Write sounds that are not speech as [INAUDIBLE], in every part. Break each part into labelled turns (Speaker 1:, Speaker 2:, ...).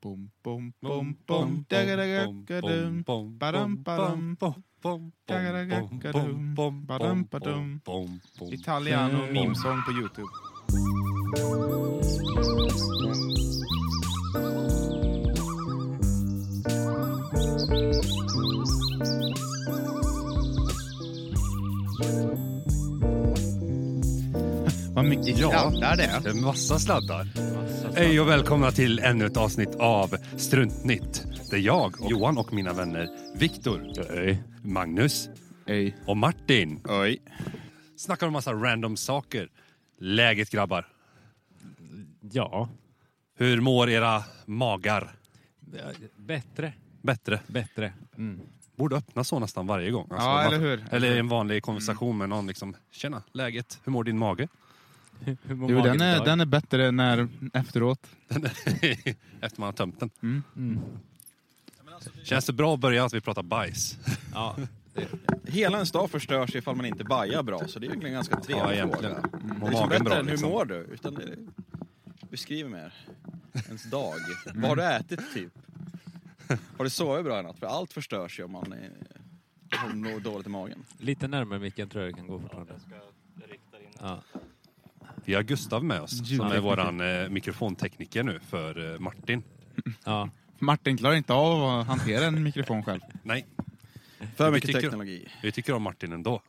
Speaker 1: Bom, bom, bom,
Speaker 2: Bom,
Speaker 1: bom,
Speaker 2: bom,
Speaker 1: dagadagakadum.
Speaker 2: bom, bom, bom,
Speaker 1: Badum, badum.
Speaker 2: bom, bom, bom, bom,
Speaker 1: Dagadagakadum.
Speaker 2: bom, bom,
Speaker 1: Badum,
Speaker 2: bom,
Speaker 1: badum.
Speaker 2: bom, bom.
Speaker 1: Italiano mimsång på
Speaker 2: [LAUGHS]
Speaker 1: Youtube. Vad mycket
Speaker 2: Ja.
Speaker 1: kladdar det är.
Speaker 2: Det är massa sladdar. Hej och välkomna till ännu ett avsnitt av Struntnytt. Det är jag, och Johan och mina vänner Viktor, Magnus
Speaker 1: Ej.
Speaker 2: och Martin.
Speaker 1: Oj.
Speaker 2: Snackar om massa random saker. Läget grabbar?
Speaker 3: Ja,
Speaker 2: Hur mår era magar?
Speaker 3: bättre.
Speaker 2: Bättre.
Speaker 3: Bättre. [LAUGHS]
Speaker 2: Borde öppna så nästan varje gång. Alltså,
Speaker 1: Ja,
Speaker 2: man-
Speaker 1: eller hur? Mm.
Speaker 2: Eller i en vanlig konversation med någon. Liksom, Tjena, läget? Hur mår din mage? [LAUGHS]
Speaker 3: Hur mår
Speaker 1: Jo,
Speaker 3: magen
Speaker 1: den är,
Speaker 3: idag?
Speaker 1: den är bättre när efteråt.
Speaker 2: Efter man har tömt den.
Speaker 1: Mm,
Speaker 2: Känns det bra att börja att vi pratar bajs?
Speaker 3: Ja,
Speaker 4: Hela ens dag förstörs ifall man inte bajar bra, så det är egentligen en ganska trevlig
Speaker 2: Ja, egentligen.
Speaker 4: fråga.
Speaker 2: Mår
Speaker 4: Det är liksom
Speaker 2: magen
Speaker 4: bättre
Speaker 2: bra?
Speaker 4: än hur
Speaker 2: liksom?
Speaker 4: mår du? Utan det beskriv mer. Ens dag.
Speaker 2: Mm.
Speaker 4: Vad har du ätit typ? Har du sovit bra i natt? För allt förstörs ju om man är, har något dåligt i magen.
Speaker 3: lite närmare micken tror jag det kan gå fortfarande. Ja.
Speaker 2: Vi har Gustav med oss, som är
Speaker 1: Ljudtekniker.
Speaker 2: vår eh, mikrofontekniker nu för eh, Martin.
Speaker 3: Ja.
Speaker 1: Martin klarar inte av att hantera en mikrofon själv.
Speaker 2: Nej,
Speaker 4: För
Speaker 2: Vi
Speaker 4: mycket
Speaker 2: tycker-
Speaker 4: teknologi.
Speaker 2: vi tycker om Martin ändå.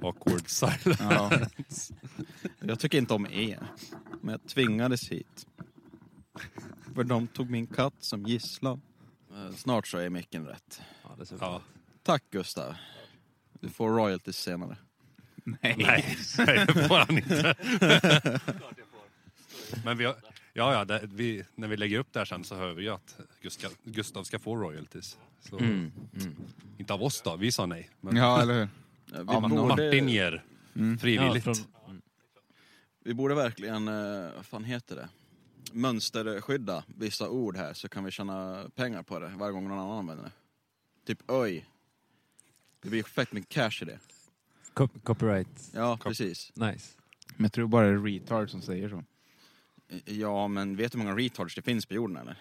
Speaker 2: Awkward silence. [LAUGHS]
Speaker 1: Ja.
Speaker 4: Jag tycker inte om er. Men jag tvingades hit. För de tog min katt som gisslan. Eh, Snart så är micken rätt.
Speaker 3: ja, det ser bra
Speaker 2: Ja.
Speaker 3: ut.
Speaker 4: Tack Gustav. Du får royalties senare.
Speaker 2: Nej, nej, det får han inte. Men vi har, ja, ja, det, vi, när vi lägger upp det här sen så hör vi ju att Gustav, Gustav ska få royalties. Så, Mm. Inte av oss då, vi sa nej. Men
Speaker 1: Mm. ja, Mm. eller hur?
Speaker 4: Eh, Vi
Speaker 2: Martin ger frivilligt.
Speaker 3: Ja,
Speaker 4: Vi borde verkligen, eh, vad fan heter det? Mönsterskydda vissa ord här så kan vi tjäna pengar på det varje gång någon annan använder det. Typ öj. Det blir fett mycket cash i det.
Speaker 3: Cop- copyright.
Speaker 4: Ja, precis.
Speaker 3: Nice.
Speaker 1: Men jag tror bara det är retard som säger så.
Speaker 4: Ja, men vet du hur många retards det finns på jorden eller?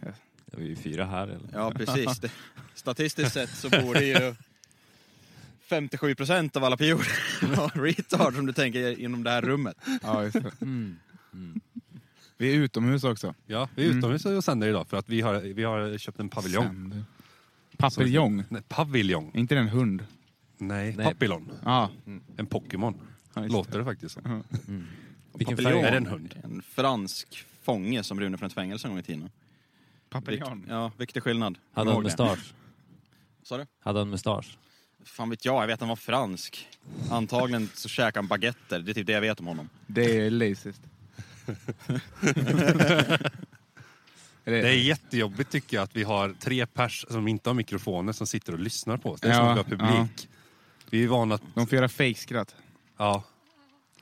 Speaker 3: Ja, vi är ju fyra här eller?
Speaker 4: Ja, precis. Det, statistiskt sett så borde ju 57 procent av alla på jorden [LAUGHS] vara retards om du tänker inom det här rummet.
Speaker 1: Ja, just det.
Speaker 2: Mm.
Speaker 3: Mm.
Speaker 1: Vi är utomhus också.
Speaker 2: Ja, vi är utomhus
Speaker 1: Mm.
Speaker 2: och sänder idag för att vi har, vi har köpt en paviljong.
Speaker 1: Sänd. Papeljong.
Speaker 2: Nej, paviljong?
Speaker 1: Är inte det en hund?
Speaker 2: Nej,
Speaker 3: Nej.
Speaker 2: papillon.
Speaker 1: Ja.
Speaker 2: En Pokémon.
Speaker 1: Ja, just
Speaker 2: Låter det faktiskt som.
Speaker 3: Vilken
Speaker 2: Paviljong. Är
Speaker 3: färg?
Speaker 2: det en hund?
Speaker 4: En fransk fånge som rymde från ett fängelse en gång i tiden.
Speaker 1: Papiljon.
Speaker 4: Ja, vilket är skillnad.
Speaker 3: Hade han mustasch?
Speaker 4: Sa du?
Speaker 3: Hade han mustasch?
Speaker 4: Fan vet jag, jag vet att han var fransk. Antagligen så käkade han baguetter, det är typ det jag vet om honom.
Speaker 1: Det är
Speaker 2: [LAUGHS]
Speaker 1: lazyst. Eller-
Speaker 2: Det är jättejobbigt tycker jag att vi har tre pers som inte har mikrofoner som sitter och lyssnar på oss. Det är
Speaker 1: Ja,
Speaker 2: som att vi har publik. Vi är vana att...
Speaker 1: De får göra fejkskratt.
Speaker 2: Ja,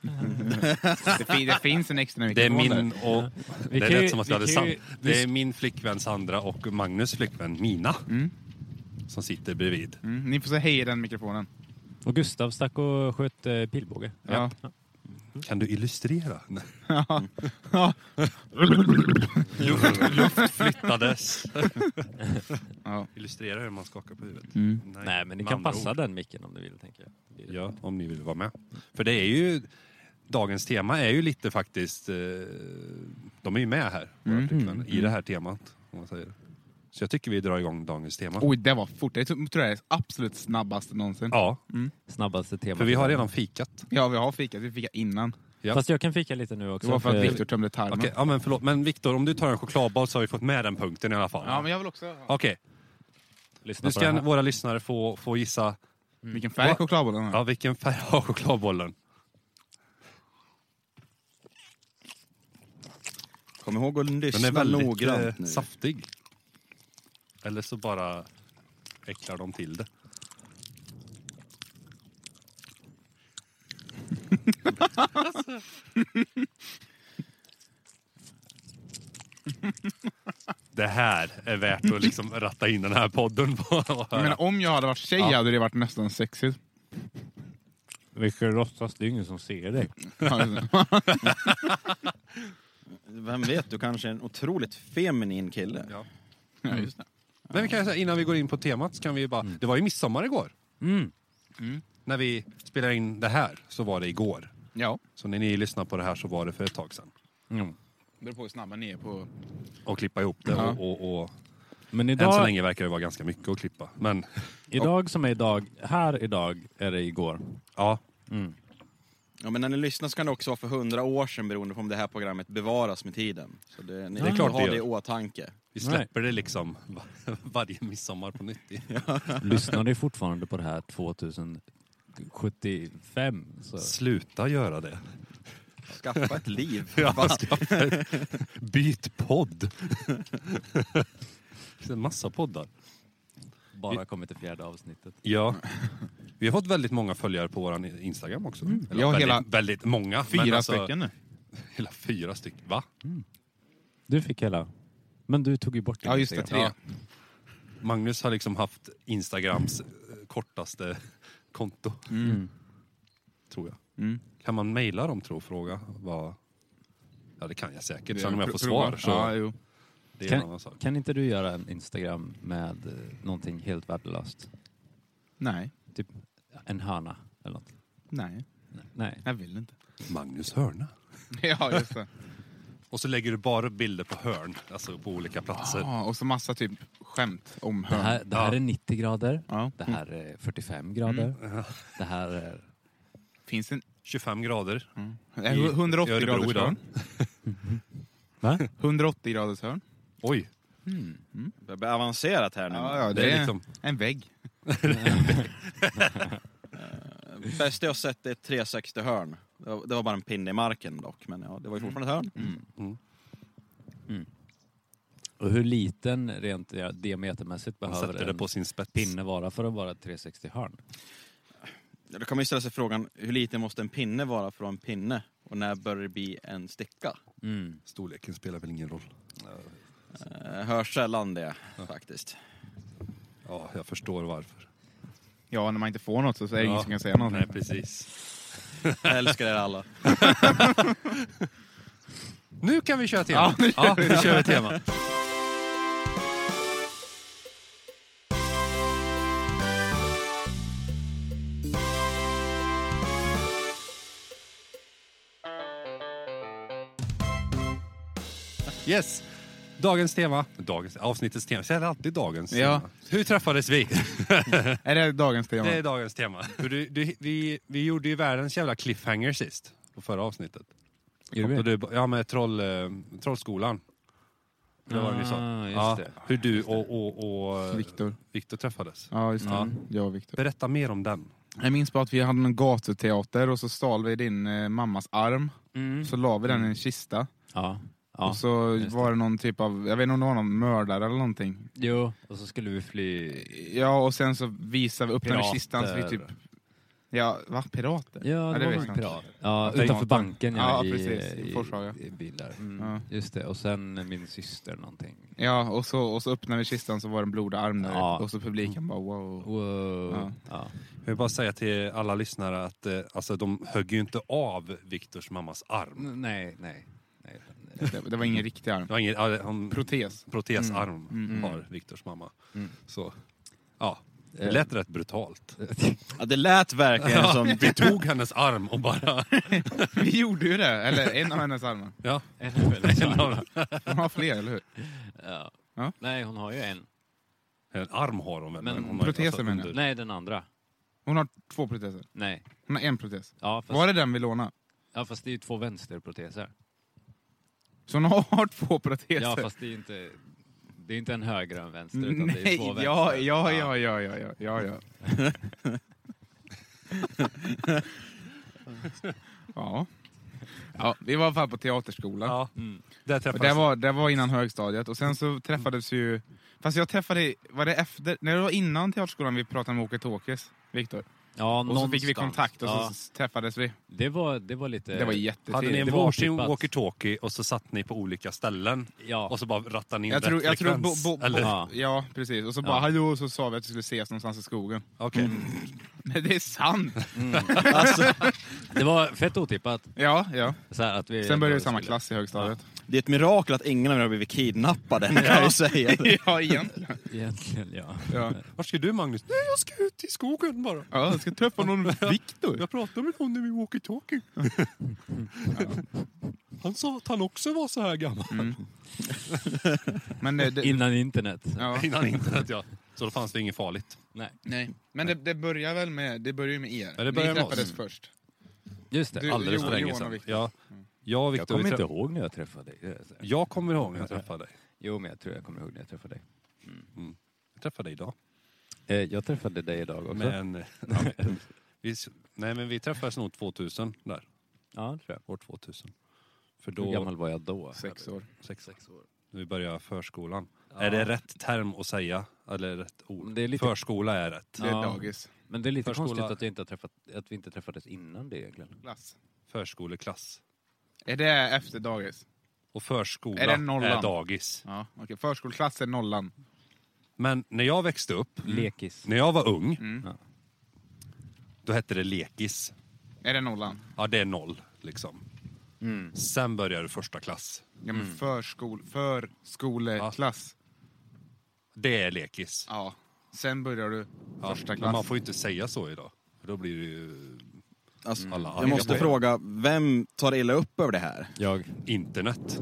Speaker 1: Det, fin- det finns en extra
Speaker 2: det är
Speaker 1: mikrofon
Speaker 2: min
Speaker 1: där.
Speaker 2: och...
Speaker 3: Vi
Speaker 2: Det är
Speaker 3: kan ju-
Speaker 2: rätt som att vi hade sam...
Speaker 3: kan ju-
Speaker 2: Det är min flickvän Sandra och Magnus flickvän Mina.
Speaker 1: Mm.
Speaker 2: Som sitter bredvid.
Speaker 1: Mm, ni får säga hej i den mikrofonen.
Speaker 3: Och Gustav stack och sköt eh, pilbåge.
Speaker 1: Ja.
Speaker 2: Kan du illustrera? Nej.
Speaker 1: Ja.
Speaker 2: Luft, luft [LAUGHS] flyttades.
Speaker 1: Ja.
Speaker 2: Illustrera hur man skakar på huvudet.
Speaker 1: Mm.
Speaker 3: Nej, men ni
Speaker 2: med
Speaker 3: kan
Speaker 2: andra
Speaker 3: passa
Speaker 2: ord.
Speaker 3: den micken om ni vill, tänker jag. Det blir-
Speaker 2: Ja, om ni vill vara med. För det är ju... Dagens tema är ju lite faktiskt... Eh, de är ju med här, våra flickvänner, i det här temat. Om man säger. Så jag tycker vi drar igång dagens tema.
Speaker 1: Oj, det var fort. Det tror jag är det absolut snabbaste någonsin. Ja,
Speaker 2: Ja,
Speaker 3: Snabbaste temat.
Speaker 2: för vi
Speaker 5: Mm.
Speaker 2: har redan fikat.
Speaker 1: vi har fikat. Vi fikat innan.
Speaker 2: Ja.
Speaker 3: Fast jag kan fika lite nu också.
Speaker 1: Det var för
Speaker 3: för-
Speaker 1: att Viktor tömde tarmen.
Speaker 2: Okej, ja, men förlåt. Men Viktor, om du tar en chokladboll så har vi fått med den punkten i alla fall.
Speaker 1: Ja, men jag vill också ha.
Speaker 2: Okej,
Speaker 3: Lyssna
Speaker 2: nu
Speaker 3: på det
Speaker 2: ska
Speaker 3: här.
Speaker 2: våra lyssnare få, få gissa
Speaker 1: Vilken färg
Speaker 2: Va?
Speaker 1: chokladbollen har.
Speaker 2: ja, vilken färg har chokladbollen.
Speaker 4: Kom ihåg att
Speaker 2: Den
Speaker 4: lyssna
Speaker 2: är väldigt
Speaker 4: noggrant
Speaker 2: eh,
Speaker 4: nu.
Speaker 2: saftig. Eller så bara äcklar de till
Speaker 4: [LAUGHS]
Speaker 2: det. Det här är värt att liksom ratta in den här podden på. och höra.
Speaker 1: Jag menar, om jag hade varit tjej hade det varit nästan
Speaker 2: [LAUGHS]
Speaker 1: sexigt.
Speaker 3: Vilken låtsas, det är ingen som ser dig.
Speaker 1: Ja, just det.
Speaker 4: vem vet, du kanske är en otroligt feminin kille.
Speaker 2: Ja.
Speaker 1: Ja, just det.
Speaker 2: Men vi kan säga, innan vi går in på temat så kan vi bara... Det var ju midsommar igår. När vi spelade in det här så var det igår.
Speaker 1: Ja,
Speaker 2: Så när ni lyssnar på det här så var det för ett tag sedan.
Speaker 1: det beror på hur snabba ni är på...
Speaker 2: Och klippa ihop det
Speaker 1: Ja.
Speaker 2: och, och, och...
Speaker 5: Men
Speaker 2: Än så
Speaker 5: idag,
Speaker 2: länge verkar det vara ganska mycket att klippa. Men
Speaker 5: idag som är idag, här idag är det
Speaker 1: [LAUGHS]
Speaker 5: igår.
Speaker 2: ja,
Speaker 4: Ja, men när ni lyssnar så kan det också vara för hundra år sedan beroende på om det här programmet bevaras med tiden. Så det, ni
Speaker 2: Det är klart
Speaker 4: har
Speaker 2: det
Speaker 4: det,
Speaker 2: gör.
Speaker 4: i åtanke.
Speaker 2: vi släpper det liksom var- [LAUGHS] varje midsommar på nytt.
Speaker 5: Lyssnar ni fortfarande på det här 2075? Så.
Speaker 2: Sluta göra det.
Speaker 4: Skaffa ett liv.
Speaker 2: [LAUGHS] Ja,
Speaker 4: Va?
Speaker 2: skaffa ett- [LAUGHS] Byt podd. [LAUGHS] Det är en massa poddar.
Speaker 5: Bara kommit till fjärde avsnittet.
Speaker 2: Ja. [LAUGHS] Vi har fått väldigt många följare på vår Instagram också. Eller
Speaker 1: Mm. Ja,
Speaker 2: väldigt,
Speaker 1: hela-
Speaker 2: väldigt många. men
Speaker 1: Fyra
Speaker 2: alltså,
Speaker 1: stycken nu.
Speaker 2: Hela fyra stycken. Va?
Speaker 5: Du fick hela. Men du tog ju bort din
Speaker 1: Ja, just det.
Speaker 5: Instagram.
Speaker 1: Tre.
Speaker 2: Ja. Magnus har liksom haft Instagrams eh, kortaste [LAUGHS] konto. Tror jag.
Speaker 1: Mm.
Speaker 2: Kan man mejla dem tro? Fråga. Vad... Ja det kan jag säkert. Sen om jag
Speaker 1: Pro-
Speaker 2: får
Speaker 1: prova.
Speaker 2: svar så
Speaker 1: Ja, jo.
Speaker 2: det är en
Speaker 5: Kan,
Speaker 1: alltså.
Speaker 2: annan sak.
Speaker 5: kan inte du göra en Instagram med eh, någonting helt värdelöst?
Speaker 1: Nej,
Speaker 5: Typ en hörna eller något?
Speaker 1: nej,
Speaker 5: Nej.
Speaker 1: jag vill inte.
Speaker 2: Magnus hörna.
Speaker 1: [LAUGHS] Ja, just det.
Speaker 2: Och så lägger du bara bilder på hörn, alltså på olika platser.
Speaker 1: Ja, och så massa typ skämt om
Speaker 5: Det
Speaker 1: hörn.
Speaker 5: här, det här
Speaker 2: Ja.
Speaker 5: är 90 grader.
Speaker 1: Ja. Mm.
Speaker 5: Det här är 45 grader. Det här är...
Speaker 1: Finns det en...
Speaker 2: 25 grader.
Speaker 1: Nej,
Speaker 2: I-
Speaker 1: 180
Speaker 2: i Örebro
Speaker 1: graders
Speaker 2: idag.
Speaker 1: hörn.
Speaker 5: Va?
Speaker 1: 180 graders hörn.
Speaker 2: Oj,
Speaker 4: Det blir avancerat här nu.
Speaker 1: Ja, ja, det,
Speaker 2: det
Speaker 1: är
Speaker 2: är liksom-
Speaker 1: en vägg.
Speaker 4: Bästa jag sett är ett 360-hörn. Det, var- det var bara en pinne i marken dock, men ja, det var ju fortfarande ett hörn.
Speaker 5: Mm. Och hur liten rent dia- diametermässigt
Speaker 2: man
Speaker 5: behöver
Speaker 2: sätter det
Speaker 5: en
Speaker 2: på sin spets.
Speaker 5: pinne vara för att vara ett 360-hörn?
Speaker 4: Ja, Då kan man ju ställa sig frågan, hur liten måste en pinne vara för att vara en pinne? Och när börjar det bli en sticka?
Speaker 5: Mm.
Speaker 2: Storleken spelar väl ingen roll.
Speaker 4: Eh, hörs sällan det, faktiskt.
Speaker 2: Ja, jag förstår varför.
Speaker 1: Ja, när man inte får något så är det ingen
Speaker 2: Ja.
Speaker 1: som kan säga någonting.
Speaker 2: Nej, precis.
Speaker 4: Jag älskar er alla.
Speaker 2: Nu kan vi köra tema. Ja, nu kör vi
Speaker 5: [LAUGHS]
Speaker 2: tema. Yes. Dagens tema. Dagens, avsnittets tema. Jag säger alltid dagens
Speaker 1: Ja.
Speaker 2: tema. Hur träffades vi?
Speaker 1: Är det dagens tema?
Speaker 2: [LAUGHS] Det är dagens tema. För du, du, vi, vi gjorde ju världens jävla cliffhanger sist, på förra avsnittet.
Speaker 5: Gjorde
Speaker 2: Och
Speaker 5: vi?
Speaker 2: du, ja, med troll, eh, Trollskolan. Det var det vi sa.
Speaker 5: Ah, just
Speaker 2: ja,
Speaker 5: det.
Speaker 2: Hur du och, och, och eh,
Speaker 1: Viktor.
Speaker 2: Viktor träffades.
Speaker 1: Ja, just det.
Speaker 2: Ja.
Speaker 1: Jag och Viktor.
Speaker 2: Berätta mer om den.
Speaker 1: Jag minns bara att vi hade en gatuteater och så stal vi din eh, mammas arm. Så la vi den i en kista.
Speaker 5: Ja. Mm. ja.
Speaker 1: och så
Speaker 5: just det.
Speaker 1: var det någon typ av, jag vet inte om det var någon mördare eller någonting.
Speaker 5: Jo, och så skulle vi fly...
Speaker 1: Ja, och sen så visade vi upp den i kistan så vi typ...
Speaker 5: Pirater.
Speaker 1: Ja, va? Pirater?
Speaker 5: Ja, det,
Speaker 1: vet
Speaker 5: var en
Speaker 1: jag inte.
Speaker 5: pirat. Ja,
Speaker 1: tänkte-
Speaker 5: utanför banken
Speaker 1: Ja,
Speaker 5: ja, i,
Speaker 1: precis. I
Speaker 5: i,
Speaker 1: Forshaga.
Speaker 5: i bil där.
Speaker 1: Ja.
Speaker 5: Just det, och sen min syster någonting.
Speaker 1: Ja, och så, och så öppnade vi kistan så var det en blodig arm där
Speaker 5: Ja.
Speaker 1: och så publiken bara wow.
Speaker 5: Wow.
Speaker 1: Ja.
Speaker 5: Ja.
Speaker 2: Jag vill bara säga till alla lyssnare att eh, alltså, de högg ju inte av Viktors mammas arm.
Speaker 5: N- Nej, nej. nej. [LAUGHS]
Speaker 1: Det, det var ingen
Speaker 5: Mm.
Speaker 1: riktig arm.
Speaker 2: Det var ingen, ah, hon,
Speaker 1: Protes. [LAUGHS]
Speaker 2: protesarm
Speaker 1: Mm,
Speaker 2: har Viktors mamma. Så, ja. Det
Speaker 5: Eh.
Speaker 2: lät rätt brutalt.
Speaker 4: Ja, det
Speaker 2: [LAUGHS]
Speaker 4: lät verkligen som...
Speaker 2: Vi tog hennes arm och bara...
Speaker 1: Vi gjorde ju det! Eller en av hennes armar.
Speaker 2: Ja.
Speaker 5: Ännu väl.
Speaker 1: Hon har fler, eller hur?
Speaker 5: Ja.
Speaker 1: Ja.
Speaker 5: Nej, hon har ju en.
Speaker 2: En arm har hon väl?
Speaker 5: Men
Speaker 2: hon har ju
Speaker 1: proteser menar
Speaker 2: under-
Speaker 5: Nej, den andra.
Speaker 1: Hon har två proteser.
Speaker 5: Nej.
Speaker 1: Hon har en protes.
Speaker 5: Ja, fast,
Speaker 1: Var det den vi lånade?
Speaker 5: ja, fast det är ju två vänsterproteser.
Speaker 1: Så hon har två proteser?
Speaker 5: Ja, fast det är ju inte... Det är inte en höger och en vänster, utan det är
Speaker 1: Nej,
Speaker 5: två vänster.
Speaker 1: ja, ja, ja, ja, ja, ja, ja, ja. ja. Ja, vi var i alla fall på teaterskolan.
Speaker 2: Ja.
Speaker 5: Mm.
Speaker 2: Där
Speaker 1: Och det,
Speaker 2: träffades
Speaker 1: var, det var innan högstadiet och sen så träffades ju... Fast jag träffade... Var det efter? Nej, det var innan teaterskolan vi pratade med Åke Tåkes, Viktor.
Speaker 5: Ja,
Speaker 1: Och så fick vi
Speaker 5: någonstans.
Speaker 1: kontakt och
Speaker 5: ja.
Speaker 1: så s- träffades vi.
Speaker 5: Det var, det var lite...
Speaker 1: Det var jättefint.
Speaker 2: Eh, Hade ni en
Speaker 5: det var
Speaker 2: varsin
Speaker 5: otippat.
Speaker 2: walkie-talkie och så satt ni på olika ställen
Speaker 5: ja.
Speaker 2: och så bara rattade ni in
Speaker 1: Jag
Speaker 2: rätt
Speaker 1: tror, jag tror bo,
Speaker 2: frekvens?
Speaker 1: bo, bo,
Speaker 2: Eller?
Speaker 1: ja. precis. Och så bara
Speaker 5: Ja.
Speaker 1: hallå, så sa vi att vi skulle ses någonstans i skogen.
Speaker 2: Okej.
Speaker 1: Mm. Men det är sant!
Speaker 5: Det var fett otippat.
Speaker 1: Ja, ja.
Speaker 5: Så här att vi
Speaker 1: Sen började vi i
Speaker 5: skulle-
Speaker 1: samma klass i högstadiet.
Speaker 4: Det är ett mirakel att ingen av er har blivit kidnappade, kan jag ju säga.
Speaker 2: [LAUGHS]
Speaker 1: Ja, egentligen.
Speaker 5: Egentligen, ja.
Speaker 1: Ja.
Speaker 2: Vart ska du Magnus? Nej, jag ska ut i skogen bara.
Speaker 1: ja, jag ska träffa någon
Speaker 2: [LAUGHS]
Speaker 1: Viktor.
Speaker 2: Jag pratade med någon i min walkie-talkie. Han sa att han också var så här gammal.
Speaker 1: Mm. Men, det, det,
Speaker 5: Innan internet.
Speaker 1: ja.
Speaker 2: [LAUGHS] Innan internet ja. Så då fanns det inget farligt.
Speaker 5: Nej,
Speaker 1: Nej. Men det, det börjar väl med, det börjar ju med er.
Speaker 2: Ja, det börjar
Speaker 1: Ni
Speaker 2: med oss.
Speaker 1: träffades först.
Speaker 5: just det.
Speaker 1: Du-
Speaker 5: alldeles för
Speaker 1: Johan-
Speaker 5: länge
Speaker 1: Johan och
Speaker 5: sedan.
Speaker 1: Viktor. Mm.
Speaker 2: Ja. Jag och
Speaker 5: Jag
Speaker 2: Viktor,
Speaker 5: kommer
Speaker 2: vi
Speaker 5: inte
Speaker 2: trä-
Speaker 5: ihåg när jag träffade dig.
Speaker 2: jag kommer ihåg när jag träffade dig.
Speaker 5: Jo, men jag tror jag kommer ihåg när jag träffade dig.
Speaker 2: Jag träffade dig idag.
Speaker 5: Eh, jag träffade dig idag också.
Speaker 2: Men, eh, [LAUGHS] ja, men- vi, s- nej, men vi träffades nog 2000 där.
Speaker 5: Ja, tror jag.
Speaker 2: År 2000. För
Speaker 5: Hur
Speaker 2: då,
Speaker 5: gammal var jag då?
Speaker 2: Mm.
Speaker 1: Sex år.
Speaker 2: sex, sex år. När vi började förskolan. Är det rätt term att säga? Eller rätt ord?
Speaker 5: Det är lite-
Speaker 2: Förskola är rätt.
Speaker 1: Det är
Speaker 5: Ja.
Speaker 1: dagis.
Speaker 5: Men det är lite
Speaker 2: Förskola. Mm.
Speaker 5: konstigt att, jag inte har träffat, att vi inte träffades innan det egentligen.
Speaker 1: Klass.
Speaker 2: Förskoleklass.
Speaker 1: Är det efter dagis?
Speaker 2: Och förskola
Speaker 1: Är
Speaker 2: är,
Speaker 1: det nollan?
Speaker 2: dagis.
Speaker 1: Ja, okej. Förskoleklass är nollan.
Speaker 2: Men när jag växte upp,
Speaker 5: Lekis.
Speaker 2: när jag var ung,
Speaker 1: Mm.
Speaker 5: Ja.
Speaker 2: då hette det lekis.
Speaker 1: Är det nollan?
Speaker 2: Ja, det är noll liksom.
Speaker 5: Mm.
Speaker 2: Sen började första klass.
Speaker 1: Ja, men
Speaker 2: Mm.
Speaker 1: förskol, förskoleklass.
Speaker 2: Det är lekis.
Speaker 1: Ja. Sen börjar du
Speaker 2: Ja,
Speaker 1: första
Speaker 2: men
Speaker 1: klass.
Speaker 2: Man får ju inte säga så idag. För då blir det ju
Speaker 4: Alltså,
Speaker 2: alla
Speaker 4: jag måste
Speaker 2: arga.
Speaker 4: fråga, vem tar illa upp över det här?
Speaker 5: Jag.
Speaker 2: internet.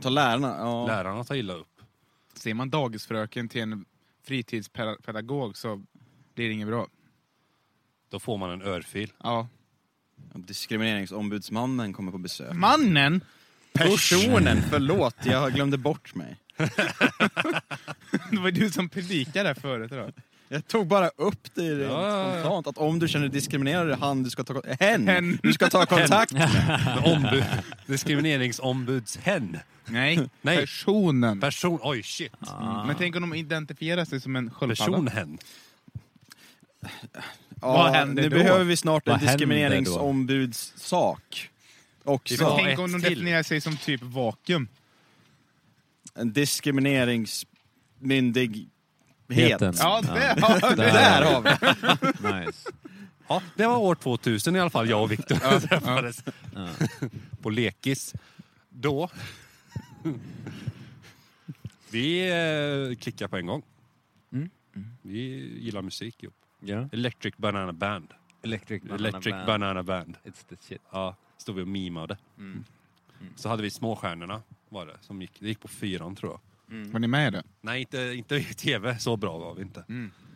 Speaker 4: Tar lärarna? Ja.
Speaker 2: Lärarna tar illa upp.
Speaker 1: Ser man dagisfröken till en fritidspedagog så blir det inget bra.
Speaker 2: Då får man en örfil.
Speaker 1: Ja.
Speaker 4: Diskrimineringsombudsmannen kommer på besök.
Speaker 1: Mannen!
Speaker 4: Personen, förlåt, jag glömde bort mig.
Speaker 1: [LAUGHS] Det var du som predikade där förut idag.
Speaker 4: Jag tog bara upp det rent
Speaker 2: Ja, ja, ja.
Speaker 4: spontant, att om du känner dig diskriminerad är det han du ska ta, kon- hen,
Speaker 1: Hen.
Speaker 4: du ska ta kontakt
Speaker 2: Men Ombud, diskrimineringsombudshen.
Speaker 1: Nej,
Speaker 2: Nej.
Speaker 1: personen.
Speaker 2: Person... Oj, shit.
Speaker 1: Men tänk om de identifierar sig som en sköldpadda?
Speaker 2: Personhen.
Speaker 4: Ja,
Speaker 1: Vad händer
Speaker 4: nu
Speaker 1: då?
Speaker 4: behöver vi snart en
Speaker 5: Vad händer då?
Speaker 2: Vi
Speaker 4: diskrimineringsombudssak.
Speaker 2: får
Speaker 4: Också.
Speaker 2: ha
Speaker 1: Tänk om
Speaker 2: ett
Speaker 1: de
Speaker 2: till.
Speaker 1: definierar sig som typ vakuum.
Speaker 4: En diskrimineringsmyndighet.
Speaker 5: Heten.
Speaker 1: Ja,
Speaker 5: Ja.
Speaker 1: det har vi!
Speaker 2: [LAUGHS]
Speaker 4: Där har vi det.
Speaker 5: Nice.
Speaker 2: Ja, det var år 2000 i alla fall, jag och Viktor träffades. [LAUGHS] På lekis. Då... Vi eh, klickade på en gång. Vi gillar musik ihop.
Speaker 5: Ja.
Speaker 2: Electric Banana Band.
Speaker 5: Electric Banana
Speaker 2: Electric
Speaker 5: Band.
Speaker 2: Banana Band.
Speaker 5: It's the shit.
Speaker 2: Ja, stod vi och mimade. Mm. Så hade vi Småstjärnorna, var det, som gick, det gick på fyran tror jag.
Speaker 1: Mm. Var ni med i det?
Speaker 2: Nej, inte, inte i tv. Så bra var vi inte.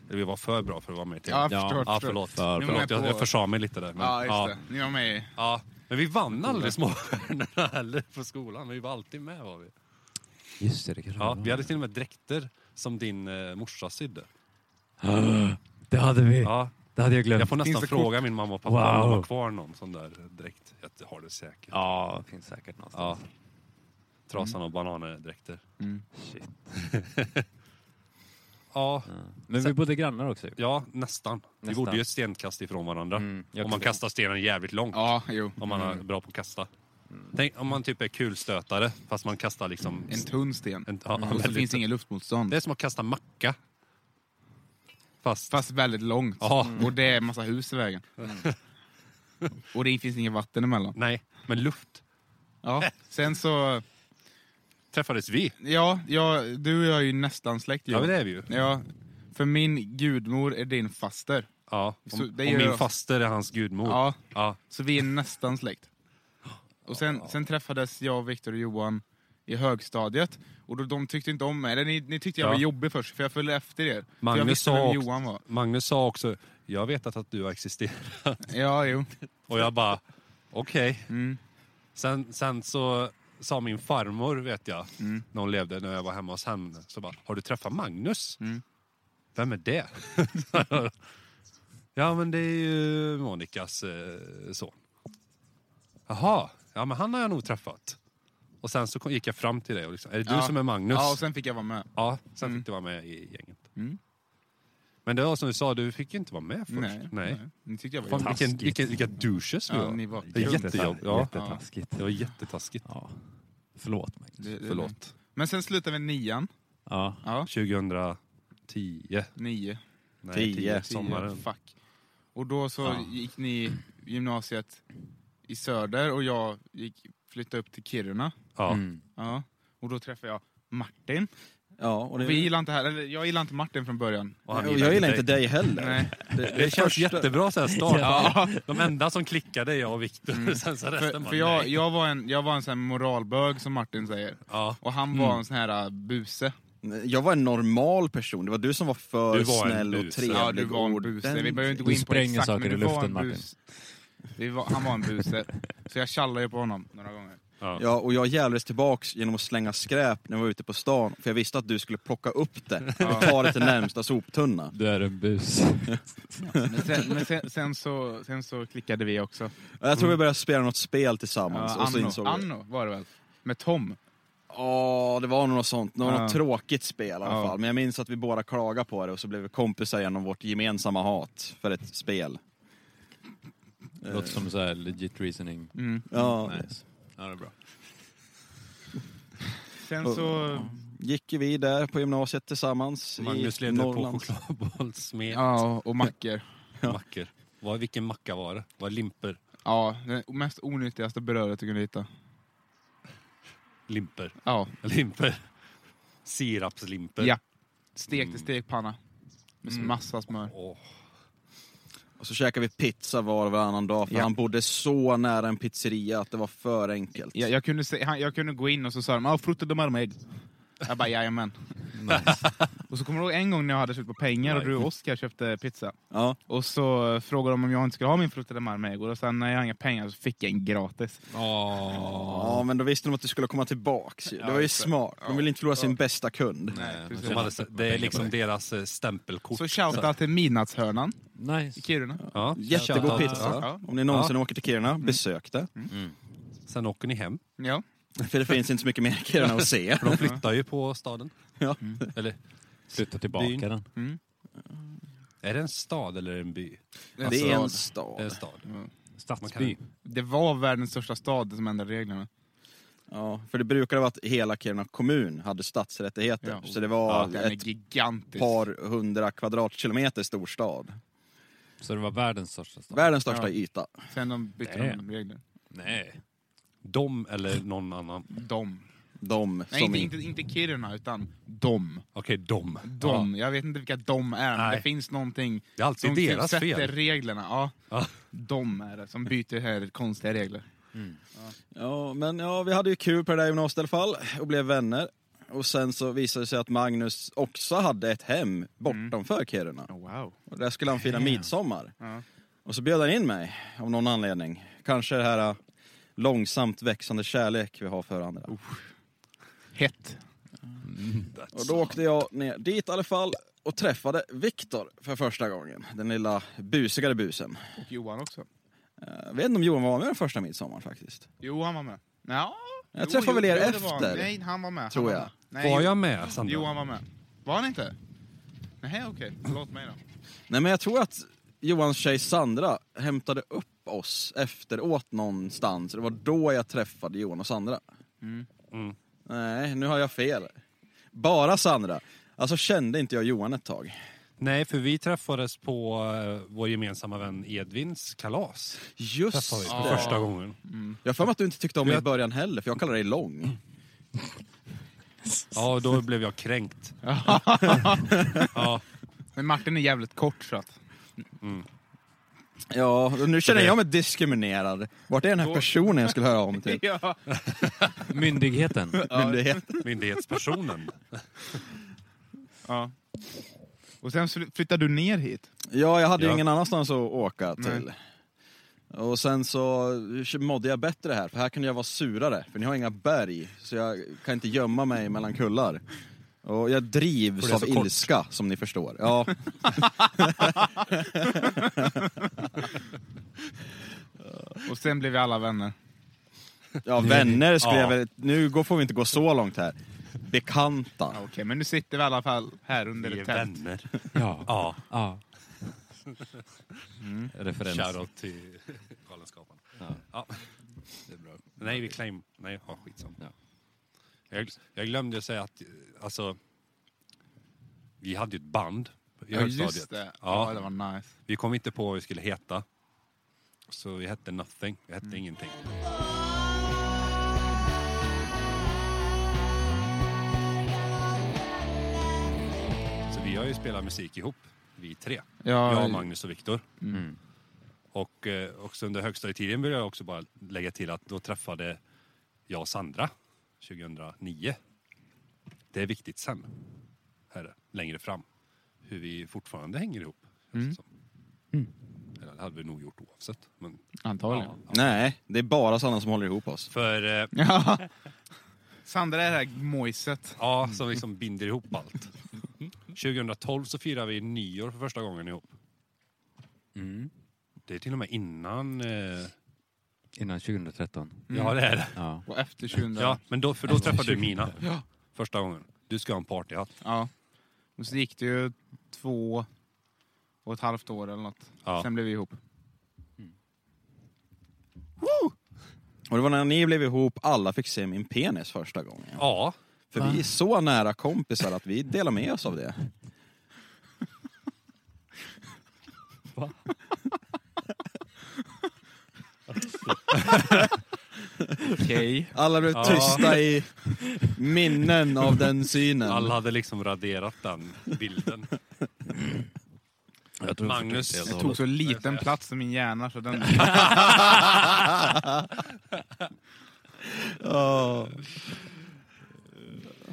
Speaker 2: Eller vi var för bra för att vara med i tv.
Speaker 1: Ja, jag
Speaker 5: Ja,
Speaker 1: förstår.
Speaker 2: Ja,
Speaker 1: förstår.
Speaker 2: förlåt.
Speaker 5: För
Speaker 1: Nu är
Speaker 2: förlåt.
Speaker 1: jag
Speaker 2: Jag,
Speaker 1: på-
Speaker 2: jag försade mig lite där. Men,
Speaker 1: Ja, just
Speaker 2: ja,
Speaker 1: det. Ni var med i...
Speaker 2: Ja. men vi vann aldrig Småstjärnorna [LAUGHS] heller på skolan. Men vi var alltid med. Var vi.
Speaker 5: Just det, det kanske
Speaker 2: Ja,
Speaker 5: var.
Speaker 2: vi hade till och med dräkter som din eh, morsa sydde.
Speaker 5: Det hade vi.
Speaker 2: Ja,
Speaker 5: Det hade jag glömt.
Speaker 2: jag får nästan
Speaker 1: det
Speaker 2: fråga min mamma och pappa om
Speaker 5: Wow.
Speaker 2: de har kvar någon sån där dräkt. Jag har det säkert.
Speaker 5: Ja, finns säkert
Speaker 2: Ja.
Speaker 5: någonstans.
Speaker 2: Trasan och bananedräkter.
Speaker 5: Shit.
Speaker 2: Ja,
Speaker 5: Men vi
Speaker 2: Sen-
Speaker 5: bodde grannar också. ju.
Speaker 2: ja nästan. Vi
Speaker 5: Nästan.
Speaker 2: bodde ju ett stenkast ifrån varandra.
Speaker 5: Mm, jag
Speaker 2: Om man
Speaker 5: tror-
Speaker 2: kastar stenen jävligt långt.
Speaker 1: Ja, Mm. jo.
Speaker 2: Om man är bra på att kasta. Tänk om man typ är kulstötare fast man kastar liksom...
Speaker 1: En tunn sten.
Speaker 2: en- ja,
Speaker 1: Och så
Speaker 2: väldigt-
Speaker 1: finns Mm, det inget luftmotstånd.
Speaker 2: det är som att kasta macka. Fast...
Speaker 1: Fast Mm. väldigt långt.
Speaker 2: Ja.
Speaker 1: Och det är massa hus i
Speaker 2: [LAUGHS]
Speaker 1: vägen. Och det finns inget vatten emellan.
Speaker 2: Nej, men luft.
Speaker 1: Ja. Sen så...
Speaker 2: Träffades vi?
Speaker 1: Ja, ja, du och jag är ju nästan släkt.
Speaker 2: Ja,
Speaker 1: Johan.
Speaker 2: men det är vi ju.
Speaker 1: Ja, för min gudmor är din faster.
Speaker 2: Ja,
Speaker 1: Så
Speaker 2: om,
Speaker 1: det
Speaker 2: och
Speaker 1: gör
Speaker 2: min
Speaker 1: jag.
Speaker 2: faster är hans gudmor.
Speaker 1: Ja,
Speaker 2: Ja,
Speaker 1: så vi är nästan släkt. Och sen, sen träffades jag, Viktor och Johan i högstadiet. Och då, de tyckte inte om mig. Eller ni, ni tyckte jag
Speaker 2: Ja.
Speaker 1: var jobbig först, för jag följde efter er. för jag
Speaker 2: Magnus
Speaker 1: visste
Speaker 2: sa
Speaker 1: vem
Speaker 2: också-
Speaker 1: Johan var.
Speaker 2: Magnus sa också, jag vet att, att du har existerat.
Speaker 1: Ja, jo.
Speaker 2: Och jag bara, okej.
Speaker 1: Mm.
Speaker 2: Sen, sen så sa min farmor, vet jag,
Speaker 1: Mm.
Speaker 2: när hon levde, när jag var hemma hos henne, så bara, har du träffat Magnus?
Speaker 1: Mm.
Speaker 2: Vem är det? [LAUGHS] ja, men det är ju Monikas eh, son. Jaha, ja men han har jag nog träffat. Och sen så kom, gick jag fram till dig och liksom, är det du
Speaker 1: Ja. Mm.
Speaker 2: som är Magnus?
Speaker 1: Ja, och sen fick jag vara med.
Speaker 2: Ja, sen fick du vara med i gänget. Men Men det var som du sa, du fick ju inte vara med först.
Speaker 1: Mm. Nej, nej. Ni tyckte jag var
Speaker 2: Fan, vilken,
Speaker 5: Taskigt.
Speaker 2: vilken, vilka douches vi
Speaker 1: Ja,
Speaker 2: var.
Speaker 1: ni var
Speaker 2: Det är
Speaker 1: kul.
Speaker 2: jättejobb. Ja,
Speaker 5: Jättetaskigt.
Speaker 2: det var jättetaskigt.
Speaker 5: Ja. Förlåt Magnus.
Speaker 1: Det- det-
Speaker 2: Förlåt.
Speaker 1: Men sen slutade vi nian.
Speaker 5: Ja.
Speaker 1: Eh, Ja,
Speaker 2: 2010.
Speaker 1: nio.
Speaker 2: Nej, tio.
Speaker 4: Tio.
Speaker 1: Tio, Mm.
Speaker 2: Sommaren.
Speaker 1: Fuck. Och då så
Speaker 5: Ja.
Speaker 1: gick ni gymnasiet i söder och jag gick, flyttade upp till Kiruna.
Speaker 2: Ja.
Speaker 5: Mm.
Speaker 1: Ja. Och då träffade jag Martin.
Speaker 4: Ja, och det,
Speaker 1: Vi gillar inte här, eller jag gillar inte Martin från början.
Speaker 2: Och han
Speaker 4: jag gillar, inte
Speaker 2: dig.
Speaker 4: dig heller.
Speaker 1: Nej.
Speaker 4: Det,
Speaker 2: Det, känns
Speaker 4: första-
Speaker 2: jättebra så här start.
Speaker 5: Ja.
Speaker 2: [LAUGHS] De enda som klickade är jag och Viktor. [LAUGHS] Sen så
Speaker 1: För,
Speaker 2: resten bara,
Speaker 1: för jag,
Speaker 2: nej.
Speaker 1: jag var en, jag var en sån här moralbög som Martin säger.
Speaker 2: Ja.
Speaker 1: Och han
Speaker 5: Mm.
Speaker 1: var en sån här äh, buse.
Speaker 4: Jag var en normal person, det var du som var för
Speaker 2: Du var en
Speaker 4: snäll och
Speaker 2: buse.
Speaker 4: trevlig.
Speaker 1: Ja, du var en
Speaker 4: och
Speaker 1: buse.
Speaker 4: ordentlig.
Speaker 1: Vi behöver inte gå
Speaker 5: Du
Speaker 1: in på
Speaker 5: spränger
Speaker 1: exakt,
Speaker 5: saker
Speaker 1: men
Speaker 5: i
Speaker 1: du var
Speaker 5: luften,
Speaker 1: en
Speaker 5: Martin.
Speaker 1: bus. Vi var, han var en buse. Så jag tjallade ju på honom några gånger.
Speaker 5: [LAUGHS]
Speaker 2: Ja.
Speaker 4: Ja, och jag jävlades tillbaks genom att slänga skräp när jag var ute på stan, för jag visste att du skulle plocka upp det och ta det till närmsta soptunna.
Speaker 5: Du är en bus.
Speaker 1: Men sen, men sen, sen, så, sen så klickade vi också.
Speaker 4: Jag tror vi började spela något spel tillsammans,
Speaker 1: Ja,
Speaker 4: och så
Speaker 1: Anno,
Speaker 4: insåg vi...
Speaker 1: Anno var det väl? Med Tom.
Speaker 4: Ja, det var nog något sånt. Något
Speaker 1: Ja.
Speaker 4: tråkigt spel i alla
Speaker 1: Ja.
Speaker 4: fall. Men jag minns att vi båda klagade på det och så blev vi kompisar genom vårt gemensamma hat för ett spel.
Speaker 5: Låter som så här legit reasoning.
Speaker 1: Mm.
Speaker 4: Ja,
Speaker 5: Nice. Ja, det är bra.
Speaker 1: Sen så...
Speaker 4: gick ju vi där på gymnasiet tillsammans
Speaker 2: Magnus
Speaker 4: i
Speaker 2: levde på
Speaker 4: Norrland.
Speaker 2: chokladbollsmet.
Speaker 1: Ja, och mackor.
Speaker 2: Mackor. Vad, vilken macka var det? Var det limper?
Speaker 1: Ja, det mest onyttigaste brödet du kunde hitta.
Speaker 2: Limper. [LAUGHS]
Speaker 1: Ja,
Speaker 2: Limper. Sirapslimper.
Speaker 1: ja. Stekt i stekpanna. Med massa smör.
Speaker 2: Åh.
Speaker 4: Och så käkade vi pizza var och varannan dag, för
Speaker 1: Ja.
Speaker 4: han bodde så nära en pizzeria att det var för enkelt.
Speaker 1: Jag, jag, kunde se, han, jag kunde gå in och så sa de ah, frutte de marmeg. Jag bara jajamän.
Speaker 5: Nice.
Speaker 1: [LAUGHS] Och så kommer du ihåg en gång när jag hade slut på pengar och du och Oskar köpte pizza.
Speaker 4: Ja.
Speaker 1: Och så eh, frågade de om jag inte skulle ha min frutte de marmeg och sen när jag hade inga pengar så fick jag en gratis.
Speaker 4: ja, men då visste de att du skulle komma tillbaks ju. Det var ju smart. De ville inte förlora sin bästa kund.
Speaker 1: precis.
Speaker 2: De hade, det är liksom deras eh, stämpelkort.
Speaker 1: Så shoutout till Midnattshörnan i
Speaker 5: nice.
Speaker 1: Kiruna.
Speaker 2: Ja.
Speaker 4: Jättegod
Speaker 2: Shoutout.
Speaker 4: pizza.
Speaker 2: Ja.
Speaker 1: Ja.
Speaker 4: Om ni någonsin åker till Kiruna, besök det.
Speaker 2: Sen åker ni hem.
Speaker 1: Ja.
Speaker 4: För det finns inte så mycket mer i Kiruna
Speaker 1: [LAUGHS]
Speaker 4: att se.
Speaker 2: För de flyttar ju på staden.
Speaker 4: Ja.
Speaker 2: Eller,
Speaker 5: Flytta tillbaka den.
Speaker 1: Mm.
Speaker 2: är det en stad eller en by?
Speaker 4: Det är en
Speaker 2: Det är en
Speaker 4: stad.
Speaker 2: stad.
Speaker 5: Stadsby.
Speaker 1: Det var världens största stad som ändrade reglerna.
Speaker 4: Ja, för det brukade vara att hela Kiruna kommun hade stadsrättigheter.
Speaker 1: Ja.
Speaker 4: Så det
Speaker 1: Ja,
Speaker 4: var
Speaker 1: den är
Speaker 4: ett
Speaker 1: gigantisk.
Speaker 4: par hundra kvadratkilometer stor stad.
Speaker 5: Så det var världens största stad?
Speaker 4: Världens största
Speaker 1: Ja.
Speaker 4: yta.
Speaker 1: Sen de bytte de
Speaker 5: Damn.
Speaker 1: regler.
Speaker 5: Nej.
Speaker 2: De eller någon annan.
Speaker 1: De.
Speaker 4: De
Speaker 1: Nej,
Speaker 4: som...
Speaker 1: inte, inte, inte Kiruna, utan de.
Speaker 2: Okej, de.
Speaker 1: De. Jag vet inte vilka de är, men
Speaker 2: Nej.
Speaker 1: det finns någonting
Speaker 2: Det är alltid
Speaker 1: som
Speaker 2: deras
Speaker 1: sätter
Speaker 2: fel.
Speaker 1: reglerna. Ja,
Speaker 2: Ja.
Speaker 1: de är det som byter här konstiga regler.
Speaker 4: Ja, men ja, vi hade ju kul på det där gymnasiet i alla fall och blev vänner. Och sen så visade det sig att Magnus också hade ett hem bortanför Kiruna.
Speaker 2: Oh,
Speaker 1: Wow.
Speaker 4: Och där skulle han fira midsommar.
Speaker 1: Mm. Ja.
Speaker 4: Och så bjöd han in mig, av någon anledning. Kanske det här eh, långsamt växande kärlek vi har för andra.
Speaker 1: Hett.
Speaker 4: Och då åkte jag ner dit i alla fall och träffade Viktor för första gången. Den lilla busigare busen. Eh,
Speaker 1: Och Johan också.
Speaker 4: Jag vet inte om Johan var med den första midsommar faktiskt.
Speaker 1: Jo, han var med. Ja.
Speaker 4: Jag
Speaker 1: jo,
Speaker 4: träffade
Speaker 1: jo,
Speaker 4: väl er
Speaker 1: jo, det var han.
Speaker 4: efter,
Speaker 1: Nej, han var med.
Speaker 4: tror
Speaker 1: han
Speaker 4: jag.
Speaker 1: Var, med. Nej,
Speaker 2: Var
Speaker 1: jo-
Speaker 2: jag med, Sandra?
Speaker 1: Johan var med. Var han inte? Nej, okej. Förlåt mig då.
Speaker 4: Nej men jag tror att Johans tjej Sandra hämtade upp oss efteråt någonstans. Det var då jag träffade Johan och Sandra.
Speaker 2: Mm.
Speaker 4: Nej, nu har jag fel. Bara Sandra. Alltså kände inte jag Johan ett tag.
Speaker 2: Nej, för vi träffades på eh, vår gemensamma vän Edvins kalas.
Speaker 4: Just
Speaker 2: Träffade vi för
Speaker 4: det.
Speaker 2: första gången.
Speaker 4: Jag har för mig att du inte tyckte om mig i
Speaker 2: Jag-
Speaker 4: början heller, för jag kallade dig lång.
Speaker 2: Ja,
Speaker 1: [LAUGHS]
Speaker 2: och då blev jag kränkt. ja,
Speaker 1: Men Martin är jävligt kort så att...
Speaker 4: Ja, och nu känner jag mig diskriminerad. Vart är den här personen jag skulle höra om
Speaker 2: [LAUGHS]
Speaker 4: typ? till?
Speaker 1: Ja.
Speaker 5: Myndigheten.
Speaker 4: Myndighet.
Speaker 2: myndighetspersonen.
Speaker 1: ja. Och sen fly- flyttade du ner hit.
Speaker 4: Ja, jag hade ju
Speaker 2: Ja.
Speaker 4: ingen annanstans att åka till.
Speaker 1: Nej.
Speaker 4: Och sen så mådde jag bättre här, för här kunde jag vara surare. För ni har inga berg, så jag kan inte gömma mig mellan kullar. Och jag
Speaker 2: Och
Speaker 4: drivs
Speaker 2: det är
Speaker 4: av
Speaker 2: så kort.
Speaker 4: ilska, som ni förstår. Ja.
Speaker 1: Och sen blev vi alla vänner.
Speaker 2: [LAUGHS]
Speaker 4: Ja, vänner skulle
Speaker 2: Ja.
Speaker 4: jag väl... Nu går- får vi inte gå så långt här. bekanta.
Speaker 1: Okej, men nu sitter vi i alla fall här under ett tält.
Speaker 5: Ja.
Speaker 2: Ja,
Speaker 5: ja.
Speaker 1: Mm.
Speaker 5: [LAUGHS] Referens.
Speaker 2: shoutout till Galenskaparna.
Speaker 5: Ja.
Speaker 2: Ja. Det är bra. Nej, vi claim... Nej, ja, skitsamma.
Speaker 5: Ja.
Speaker 2: Jag, jag glömde ju säga att, eh, alltså... Vi hade ju ett band i
Speaker 1: Ja,
Speaker 2: högstadiet.
Speaker 1: just det. Ja,
Speaker 2: Ja.
Speaker 1: det var nice.
Speaker 2: Vi kom inte på vad vi skulle heta. Så vi hette nothing, vi hette ingenting. Så vi har ju spelat musik ihop, vi tre.
Speaker 1: Ja,
Speaker 2: Jag, Magnus och Viktor.
Speaker 5: Mm.
Speaker 2: Och eh, också under högstadietiden vill jag också bara lägga till att då träffade jag Sandra 2009. Det är viktigt sen, här, längre fram, hur vi fortfarande hänger ihop. känns det som. Eller det hade vi nog gjort oavsett. Men,
Speaker 1: antagligen.
Speaker 4: Nej, det är bara sådana som håller ihop oss.
Speaker 2: för eh, [LAUGHS]
Speaker 1: Ja. Sandra är det här mojset.
Speaker 2: ja, som liksom binder ihop allt. 2012 så firade vi nyår för första gången ihop.
Speaker 5: Mm.
Speaker 2: Det är till och med innan... Eh,
Speaker 5: Innan 2013.
Speaker 2: Ja, det är det.
Speaker 5: Ja.
Speaker 1: Mm. Och efter 2000...
Speaker 2: Ja,
Speaker 1: Ja.
Speaker 2: men då, för då
Speaker 5: Alltså,
Speaker 2: träffade du
Speaker 5: 20.
Speaker 2: Mina första gången. Du ska ha en partyhatt.
Speaker 1: Och så gick det ju två och ett halvt år eller något.
Speaker 2: Ja.
Speaker 1: Sen blev vi
Speaker 2: [LAUGHS]
Speaker 1: ihop.
Speaker 4: Och det var när ni blev ihop alla fick se min penis första gången.
Speaker 2: Ja,
Speaker 4: För vi är så nära kompisar att vi delar med oss av det.
Speaker 1: Okej.
Speaker 4: Alla blev
Speaker 2: Ja.
Speaker 4: tysta i minnen av den synen.
Speaker 2: alla hade liksom raderat den bilden.
Speaker 5: Jag tror
Speaker 2: Magnus-
Speaker 5: jag
Speaker 1: Det
Speaker 5: förstår
Speaker 1: tog
Speaker 5: det
Speaker 1: så liten plats i min hjärna så
Speaker 2: [LAUGHS]
Speaker 1: den...
Speaker 4: Ja.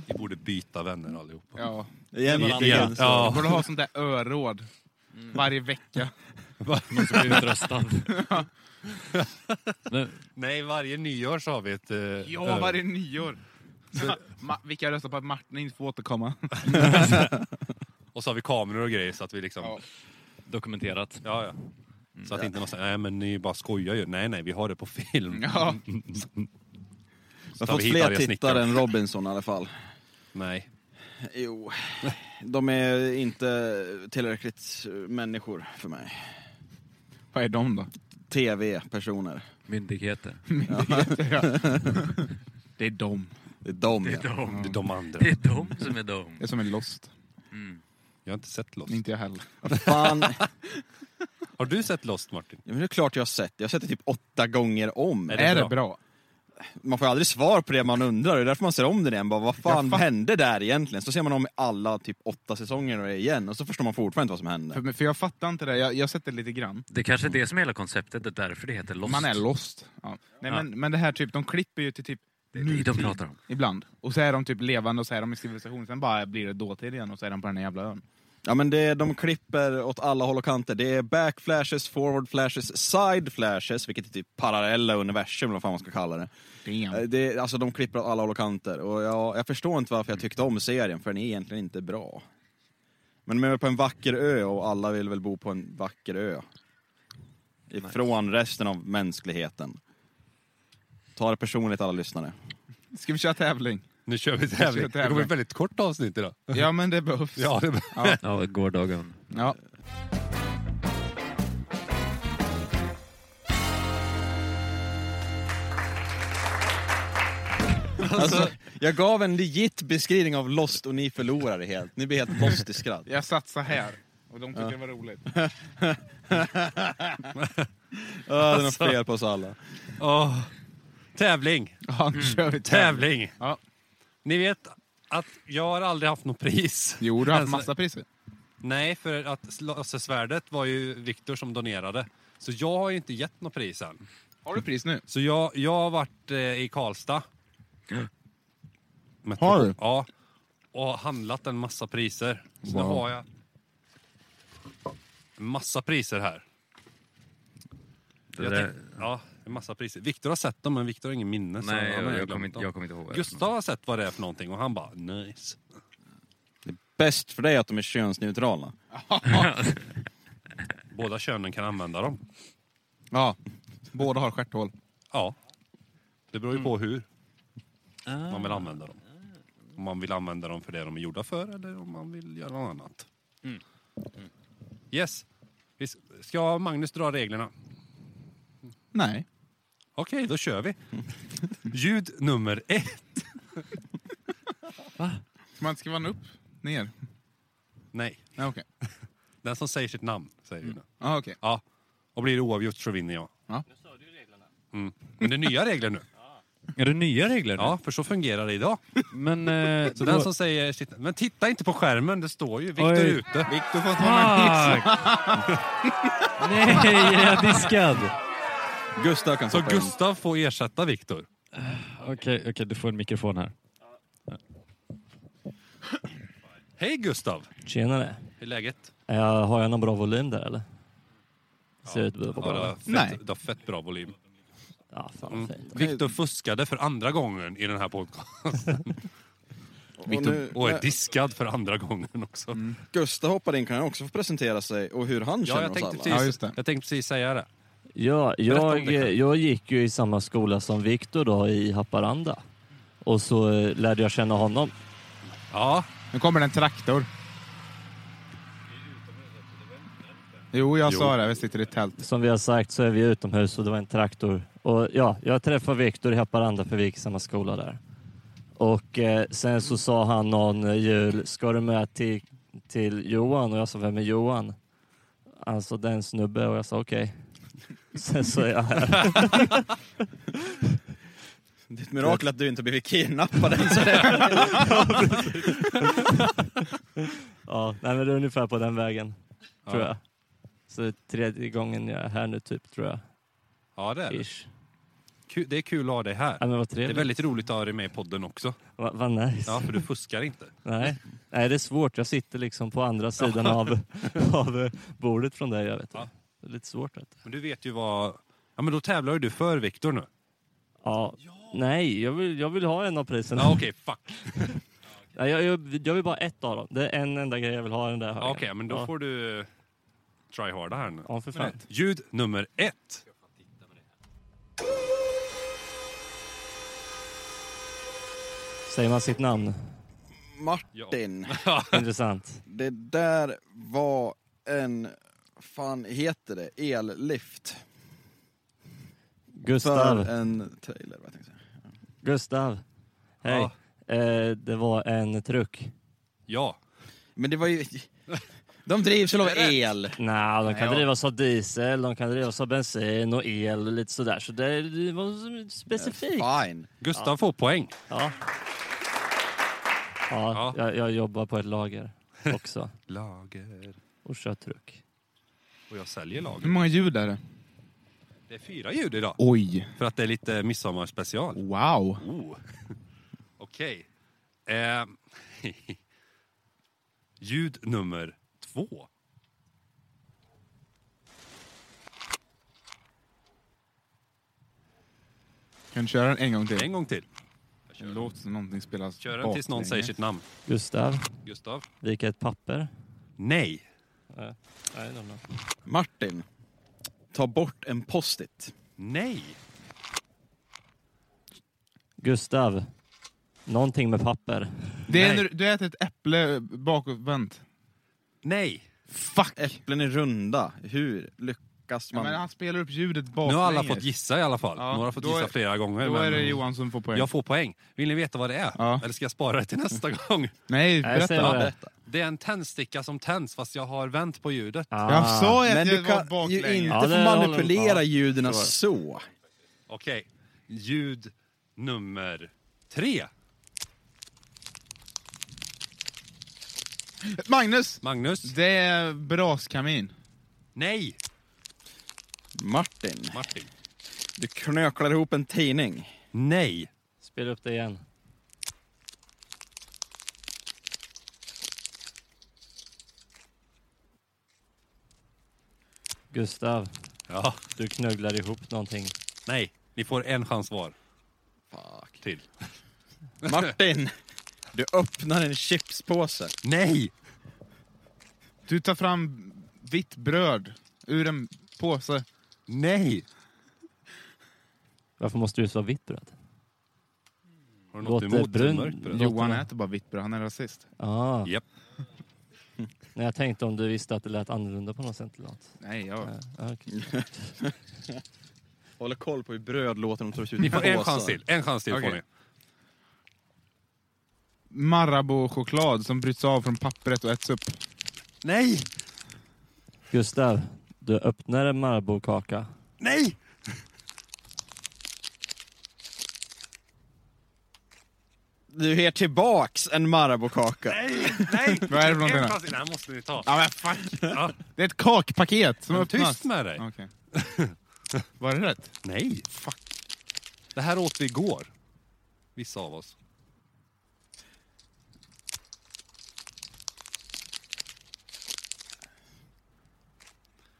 Speaker 2: Vi borde byta vänner allihopa.
Speaker 1: Ja.
Speaker 4: Egentligen så.
Speaker 1: Jag
Speaker 2: Ja.
Speaker 1: borde ha sånt där öråd. Varje vecka.
Speaker 3: Någon som blivit röstad.
Speaker 5: [LAUGHS] helt
Speaker 2: Nej, varje nyår så har vi ett... eh,
Speaker 1: Ja, varje nyår. Ma- vilka röstar på att Martin inte får återkomma?
Speaker 2: Och så har vi kameror och grejer så att vi liksom...
Speaker 1: Ja.
Speaker 2: Ja,
Speaker 3: Dokumenterat.
Speaker 2: ja. Så att inte någon säger nej men ni bara skojar ju. Nej, nej, vi har det på film.
Speaker 1: Ja.
Speaker 4: Jag
Speaker 2: tar vi
Speaker 4: har fått
Speaker 2: hit
Speaker 4: fler
Speaker 2: arga
Speaker 4: tittare
Speaker 2: snickare.
Speaker 4: än Robinson i alla fall.
Speaker 2: Nej.
Speaker 4: Jo, de är inte tillräckligt människor för mig.
Speaker 1: Vad är de då?
Speaker 4: Tv-personer.
Speaker 5: Myndigheter.
Speaker 1: [LAUGHS] Det är de.
Speaker 4: Det är de.
Speaker 5: Det
Speaker 4: ja.
Speaker 5: är de.
Speaker 2: Det är
Speaker 1: Mm.
Speaker 2: de andra.
Speaker 5: Det är de som är Mm. de.
Speaker 1: Det är som en Lost.
Speaker 2: Jag har inte sett Lost.
Speaker 1: Inte jag heller.
Speaker 4: Fan.
Speaker 2: Har du sett Lost, Martin?
Speaker 4: Ja, men det är klart jag har sett det. Jag har sett det typ åtta gånger om.
Speaker 2: Är
Speaker 1: Är
Speaker 2: det
Speaker 1: det,
Speaker 2: bra?
Speaker 1: bra?
Speaker 4: Man får ju aldrig svar på det man undrar. Det är därför man ser om det igen. Bara, vad fan
Speaker 1: Ja, fa-
Speaker 4: hände där egentligen? Så ser man om alla typ åtta säsonger och det igen och så förstår man fortfarande inte vad som hände.
Speaker 1: För, för jag fattar inte det. Jag, jag har sett det lite grann.
Speaker 5: Det kanske är det som är hela konceptet, det är därför det heter Lost.
Speaker 1: Man är lost. Ja. Nej,
Speaker 5: Ja.
Speaker 1: Men, men det här typ, de klipper ju till typ
Speaker 5: Det är det de pratar om.
Speaker 1: ibland. Och så är de typ levande och så är de i civilisation. Sen bara blir det dåtid igen och så är de på den här jävla ön.
Speaker 4: Ja men det, de klipper åt alla håll och kanter. Det är backflashes, forward flashes, side flashes, vilket är typ parallella universum eller vad fan man ska kalla det. Eh,
Speaker 1: Damn.
Speaker 4: det alltså de klipper åt alla håll och kanter. Och jag, jag förstår inte varför jag tyckte om serien, för den är egentligen inte bra. Men de är på en vacker ö och alla vill väl bo på en vacker ö. Ifrån resten av mänskligheten. Ta det personligt alla lyssnare.
Speaker 1: Ska vi köra tävling?
Speaker 2: Nu kör vi
Speaker 1: Vi kör
Speaker 2: tävling.
Speaker 1: tävling.
Speaker 2: Det kommer ett väldigt kort avsnitt idag.
Speaker 1: Ja men det behövs. [LAUGHS]
Speaker 2: Ja, det...
Speaker 5: Ja, gårdagen.
Speaker 1: Ja.
Speaker 4: Alltså, jag gav en legit beskrivning av Lost och ni förlorade helt. Ni blir helt lost i skratt.
Speaker 1: Jag satt så här. Och de tycker det var roligt.
Speaker 4: Ja, det är något
Speaker 2: alltså.
Speaker 4: fel på oss alla.
Speaker 2: Åh. Tävling!
Speaker 1: [LAUGHS] Ja, nu kör vi
Speaker 2: Tävling!
Speaker 1: Ja.
Speaker 2: Ni vet att jag har aldrig haft något pris.
Speaker 1: Jo, du har haft
Speaker 2: Alltså,
Speaker 1: massa priser.
Speaker 2: Nej, för att Lasse-svärdet var ju Viktor som donerade. Så jag har ju inte gett något pris än.
Speaker 1: Har du pris nu?
Speaker 2: Så jag, jag har varit eh, i Karlstad. Metro-
Speaker 1: Har du?
Speaker 2: Ja. Och handlat en massa priser. Så nu
Speaker 1: Wow.
Speaker 2: har jag en massa priser här. Jag
Speaker 5: där-
Speaker 2: tänkte, ja, en massa priser. Viktor har sett dem, men Viktor har ingen minne. så han
Speaker 5: Nej,
Speaker 2: har
Speaker 5: jag, jag,
Speaker 2: glömt
Speaker 5: kommer inte,
Speaker 2: dem.
Speaker 5: jag kommer inte ihåg. vad det är för
Speaker 2: Gustav har sett vad det är för någonting och han bara nice.
Speaker 4: Bäst för dig att de är könsneutrala.
Speaker 2: Båda könen kan använda dem.
Speaker 1: Ja. Båda har stjärthål.
Speaker 2: Ja. Det beror ju på hur man vill använda dem. Om man vill använda dem för det de är gjorda för eller om man vill göra något annat.
Speaker 3: Mm.
Speaker 2: Yes. Vi s- Ska Magnus dra reglerna?
Speaker 1: Nej.
Speaker 2: Okej, då kör vi. Ljud nummer ett.
Speaker 1: Ska man skriva upp? Ner?
Speaker 2: Nej,
Speaker 1: Ja, okej.
Speaker 2: den som säger sitt namn säger vi nu.
Speaker 1: Ja, okej.
Speaker 2: Ja, och blir det oavgjort så vinner jag.
Speaker 3: Nu sa du ju reglerna.
Speaker 2: Mm. Men det är nya regler nu.
Speaker 5: Är det nya regler nu?
Speaker 2: Ja, för så fungerar det idag.
Speaker 5: Men... [LAUGHS] Eh,
Speaker 2: Så den som säger sitt... Men titta inte på skärmen, det står ju. Viktor är
Speaker 5: Oj.
Speaker 2: ute. Ah.
Speaker 1: Viktor får
Speaker 5: Fuck! Nej, är jag diskad?
Speaker 4: Gustav kan
Speaker 2: Så
Speaker 4: hoppa in.
Speaker 2: Gustav får ersätta Viktor.
Speaker 5: Okej, okej, du får en mikrofon här.
Speaker 2: Hej Gustav!
Speaker 3: Tjenare.
Speaker 2: Hur är läget?
Speaker 3: Eh, Har jag någon bra volym där eller? Ser ut att
Speaker 2: Ja, du, har Mm.
Speaker 3: vara
Speaker 1: Nej.
Speaker 2: fett, du har fett bra volym.
Speaker 3: Ja, fan vad fint.
Speaker 2: Viktor fuskade för andra gången i den här [LAUGHS] podcasten.
Speaker 4: Och nu-
Speaker 2: Viktor och är
Speaker 4: när
Speaker 2: diskad för andra gången också.
Speaker 4: Gustav hoppar in kan han också få presentera sig och hur han
Speaker 2: Mm. Ja,
Speaker 4: känner
Speaker 2: jag
Speaker 4: oss
Speaker 2: tänkte, typ
Speaker 4: alla.
Speaker 2: precis,
Speaker 1: Ja, just det.
Speaker 2: jag tänkte precis säga det.
Speaker 6: Ja,
Speaker 2: Berätta om
Speaker 6: jag,
Speaker 2: det, Kalle.
Speaker 6: jag gick ju i samma skola som Viktor då i Haparanda. Och så eh, lärde jag känna honom.
Speaker 2: Ja,
Speaker 1: Nu kommer det en traktor. Jo, jag
Speaker 2: Jo.
Speaker 1: sa det. Vi sitter i tält.
Speaker 6: Som vi har sagt så är vi utomhus och det var en traktor. Och ja, jag träffade Viktor i Haparanda för vi gick i samma skola där. Och eh, sen så sa han någon eh, jul, ska du med till, till Johan? Och jag sa, vem är Johan? Han sa, den snubbe. Och jag sa, okej. [LAUGHS] Sen så är jag här.
Speaker 4: Det är ett mirakel att du inte blivit kidnappad
Speaker 6: [LAUGHS]
Speaker 4: ens.
Speaker 6: Ja, nej, men det är ungefär på den vägen, tror
Speaker 2: Ja.
Speaker 6: jag. Så det är tredje gången jag är här nu typ, tror jag.
Speaker 2: ja det är det.
Speaker 6: Ish.
Speaker 2: Ku- Det är kul att ha dig här.
Speaker 6: Ja, men vad
Speaker 2: Det är
Speaker 6: trevligt.
Speaker 2: väldigt roligt att ha dig med i podden också.
Speaker 6: Va, vad nice.
Speaker 2: Ja, för du fuskar inte.
Speaker 6: Nej. Nej, det är svårt. Jag sitter liksom på andra
Speaker 2: [LAUGHS]
Speaker 6: sidan av, av eh, bordet från dig. Jag vet.
Speaker 2: Ja.
Speaker 6: Det är lite svårt. Vet du.
Speaker 2: Men du vet ju vad... Ja, men då tävlar ju du för Viktor nu.
Speaker 6: Ja. Nej, jag vill, jag vill ha en av priserna.
Speaker 2: Ja, okej, fuck.
Speaker 6: Nej, jag, jag, jag vill bara ett av dem. Det är en enda grej jag vill ha i den där
Speaker 2: Ja,
Speaker 6: högen.
Speaker 2: Okej, men då
Speaker 6: ja.
Speaker 2: får du try harda här nu.
Speaker 6: Ja, för fan.
Speaker 2: Ljud nummer ett.
Speaker 6: Säger man
Speaker 2: [LAUGHS]
Speaker 6: sitt namn?
Speaker 4: Martin,
Speaker 6: Intressant.
Speaker 4: det där var en, fan heter det, ellift.
Speaker 6: Gustav.
Speaker 4: För eh, en trailer, vad jag tänkte säga.
Speaker 6: Gustav. Hej.
Speaker 2: Ja.
Speaker 6: Eh, det var en truck.
Speaker 2: Ja.
Speaker 4: Men det var ju... [LAUGHS] De drivs väl av el?
Speaker 6: Nej, de kan
Speaker 1: Nej, ja.
Speaker 6: drivas av diesel, de kan drivas av bensin och el och lite sådär. Så det, det
Speaker 2: Eh,
Speaker 6: var specifikt.
Speaker 4: Fine.
Speaker 2: Gustav får poäng.
Speaker 6: Ja.
Speaker 2: Ja.
Speaker 6: Ja, jag, jag jobbar på ett lager också
Speaker 2: Lager.
Speaker 6: och kör truck.
Speaker 2: Och jag säljer lager.
Speaker 1: Hur många ljud är det?
Speaker 2: Det är fyra ljud idag.
Speaker 1: Oj!
Speaker 2: För att det är lite midsommarspecial.
Speaker 1: Wow!
Speaker 2: Oh. [LAUGHS] Okej. Eh, [LAUGHS] ljud nummer två.
Speaker 1: Kan du köra den en gång
Speaker 2: En
Speaker 1: till?
Speaker 2: gång till.
Speaker 1: Det låter som någonting spelas
Speaker 2: Kör den tills någon säger
Speaker 1: baklänges.
Speaker 2: sitt namn.
Speaker 6: Gustav,
Speaker 2: Gustav?
Speaker 6: vika ett papper.
Speaker 2: Nej.
Speaker 6: Nej, nej, nej.
Speaker 4: Martin, ta bort en post-it.
Speaker 2: Nej.
Speaker 6: Gustav, någonting med papper.
Speaker 1: Det är
Speaker 2: Nej.
Speaker 1: när du- du äter ett äpple bakåtvänt.
Speaker 2: Nej.
Speaker 1: Fuck!
Speaker 4: Äpplen är runda. Hur lyckas
Speaker 1: Ja,
Speaker 4: man?
Speaker 1: men han spelar upp ljudet
Speaker 2: Nu
Speaker 1: baklänges.
Speaker 2: har alla fått gissa i alla fall.
Speaker 1: Ja,
Speaker 2: Några har fått
Speaker 1: då är-
Speaker 2: gissa flera gånger.
Speaker 1: Då är
Speaker 2: men
Speaker 1: det Johan som får poäng.
Speaker 2: Jag får poäng. Vill ni veta vad det är?
Speaker 1: Ja.
Speaker 2: Eller ska jag spara det
Speaker 1: [LAUGHS]
Speaker 2: till nästa gång?
Speaker 1: Nej,
Speaker 6: Nej, säg
Speaker 1: berätta.
Speaker 6: vad det är.
Speaker 2: Det är en tändsticka som tänds fast jag har vänt på ljudet.
Speaker 1: Jag sa ju att
Speaker 4: Men
Speaker 1: jag
Speaker 4: du
Speaker 1: var
Speaker 4: kan ju
Speaker 1: baklänges.
Speaker 4: inte
Speaker 6: Ja,
Speaker 4: få
Speaker 6: det håller-
Speaker 4: manipulera
Speaker 6: ja,
Speaker 4: ljuden
Speaker 6: så är det.
Speaker 4: så.
Speaker 2: Okej. Ljud nummer tre.
Speaker 1: Magnus!
Speaker 2: Magnus?
Speaker 1: Det är braskamin.
Speaker 2: Nej!
Speaker 4: Martin,
Speaker 2: Martin?
Speaker 4: du knöklar ihop en tidning.
Speaker 2: Nej.
Speaker 6: Spela upp det igen. Gustav,
Speaker 2: Ja.
Speaker 6: du knögglar ihop någonting.
Speaker 2: Nej. Ni får en chans var. Fuck. Till. [LAUGHS]
Speaker 4: Martin, du öppnar en chipspåse.
Speaker 2: Nej!
Speaker 1: Du tar fram vitt bröd ur en påse.
Speaker 2: Nej!
Speaker 6: Varför måste du så vitt bröd?
Speaker 2: Har Har du något
Speaker 6: Låter
Speaker 2: emot
Speaker 6: brun-
Speaker 2: mörkt bröd?
Speaker 6: Jo.
Speaker 1: Johan
Speaker 6: mig.
Speaker 1: äter bara vitt bröd, han är rasist.
Speaker 6: Ah.
Speaker 2: Japp.
Speaker 6: Nej, jag tänkte om du visste att det lät annorlunda på något sätt eller något.
Speaker 1: Nej, jag...
Speaker 6: Ja, okej.
Speaker 4: Håller koll på hur bröd låter när de tar ut
Speaker 2: Ni får en
Speaker 4: påsar.
Speaker 2: chans till. En chans till
Speaker 1: Okej.
Speaker 2: får ni.
Speaker 1: Marabou-choklad som bryts av från pappret och äts upp.
Speaker 2: Nej!
Speaker 6: Gustav, du öppnar en Marabou-kaka.
Speaker 2: Nej!
Speaker 4: Du ger tillbaks en Marabou-kaka.
Speaker 2: Nej! Nej!
Speaker 1: Vad är det för någonting
Speaker 2: en
Speaker 1: då?
Speaker 2: chans till. Den här måste ni ta.
Speaker 1: Ja men fuck!
Speaker 2: Ja.
Speaker 1: Det är ett kakpaket som
Speaker 2: Men
Speaker 1: öppnas.
Speaker 2: tyst med dig.
Speaker 1: Okej. Var det rätt?
Speaker 2: Nej! Fuck. Det här åt vi igår. Vissa av oss.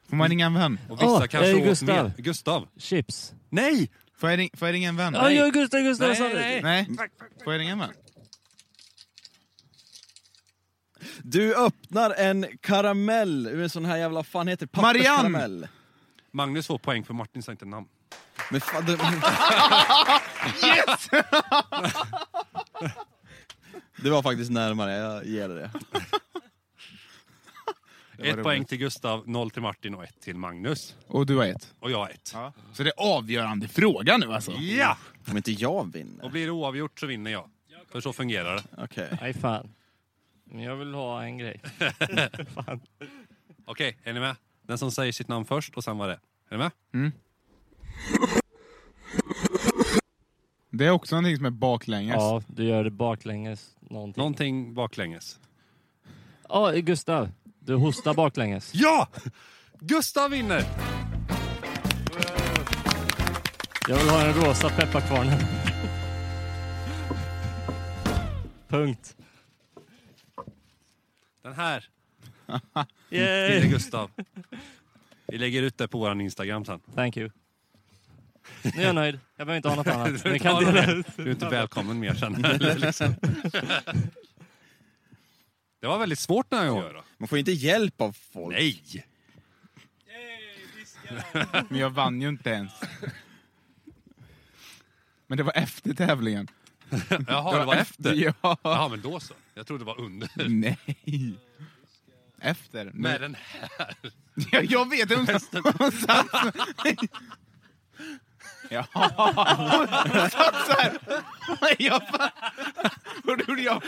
Speaker 1: Får man ringa en vän?
Speaker 2: Och vissa
Speaker 6: Åh,
Speaker 2: kanske
Speaker 6: eh,
Speaker 2: åt
Speaker 6: Gustav.
Speaker 2: mer. Gustav!
Speaker 6: Chips.
Speaker 2: Nej!
Speaker 1: Får jag, ring- får jag ringa en vän?
Speaker 6: Ja, jag är Gustav Gustav
Speaker 2: Nej,
Speaker 6: sa det.
Speaker 2: nej.
Speaker 1: Nej? Får jag ringa en vän?
Speaker 4: Du öppnar en karamell ur en sån här jävla, fan heter det? Papperskaramell.
Speaker 2: Magnus får poäng för Martin sa inte namn.
Speaker 4: Men fan, det...
Speaker 2: [LAUGHS]
Speaker 1: Yes!
Speaker 4: [LAUGHS] det var faktiskt närmare, jag ger dig det.
Speaker 1: var
Speaker 2: Ett
Speaker 1: roligt.
Speaker 2: poäng till Gustav, noll till Martin och ett till Magnus.
Speaker 1: Och du har ett?
Speaker 2: Och jag har ett.
Speaker 1: Ja. Så det är avgörande fråga nu alltså?
Speaker 2: Ja!
Speaker 4: Om inte jag
Speaker 2: Och
Speaker 4: vinner.
Speaker 2: blir det oavgjort så vinner jag. För så fungerar det.
Speaker 4: Okej.
Speaker 6: Nej, fan. Men jag vill ha en grej. fan.
Speaker 2: Okej, är ni med? Den som säger sitt namn först och sen vad det är. Är ni med?
Speaker 1: Det är också någonting som är baklänges.
Speaker 6: Ja, du gör det baklänges. Någonting.
Speaker 2: Någonting baklänges.
Speaker 6: Ja, Gustav. Du hostar baklänges.
Speaker 2: Ja! Gustav vinner!
Speaker 6: Jag vill ha den rosa pepparkvarnen. [LAUGHS] Punkt.
Speaker 2: Den här vinner
Speaker 6: Yay!
Speaker 2: Gustav. Vi lägger ut det på vår Instagram sen.
Speaker 6: Thank you. Nu är jag nöjd. Jag behöver inte ha något
Speaker 2: [LAUGHS]
Speaker 6: annat.
Speaker 2: Du
Speaker 6: Ni
Speaker 2: är
Speaker 6: kan
Speaker 2: inte
Speaker 6: dela
Speaker 2: välkommen.
Speaker 6: ut.
Speaker 2: Du är inte välkommen mer sen. eller Liksom. Det var väldigt svårt den här gången. då.
Speaker 4: Man får inte hjälp av folk.
Speaker 2: Nej!
Speaker 1: Men jag vann ju inte ens. Men det var efter tävlingen.
Speaker 2: Jaha, det var efter?
Speaker 1: Ja.
Speaker 2: Jaha, men då så. Jag trodde det var under.
Speaker 1: Nej. Efter?
Speaker 2: Med
Speaker 1: Nej.
Speaker 2: den här.
Speaker 1: Jag, jag vet inte om hon satt så Ja, hon satt så här. Jag fan. Och då gjorde jag.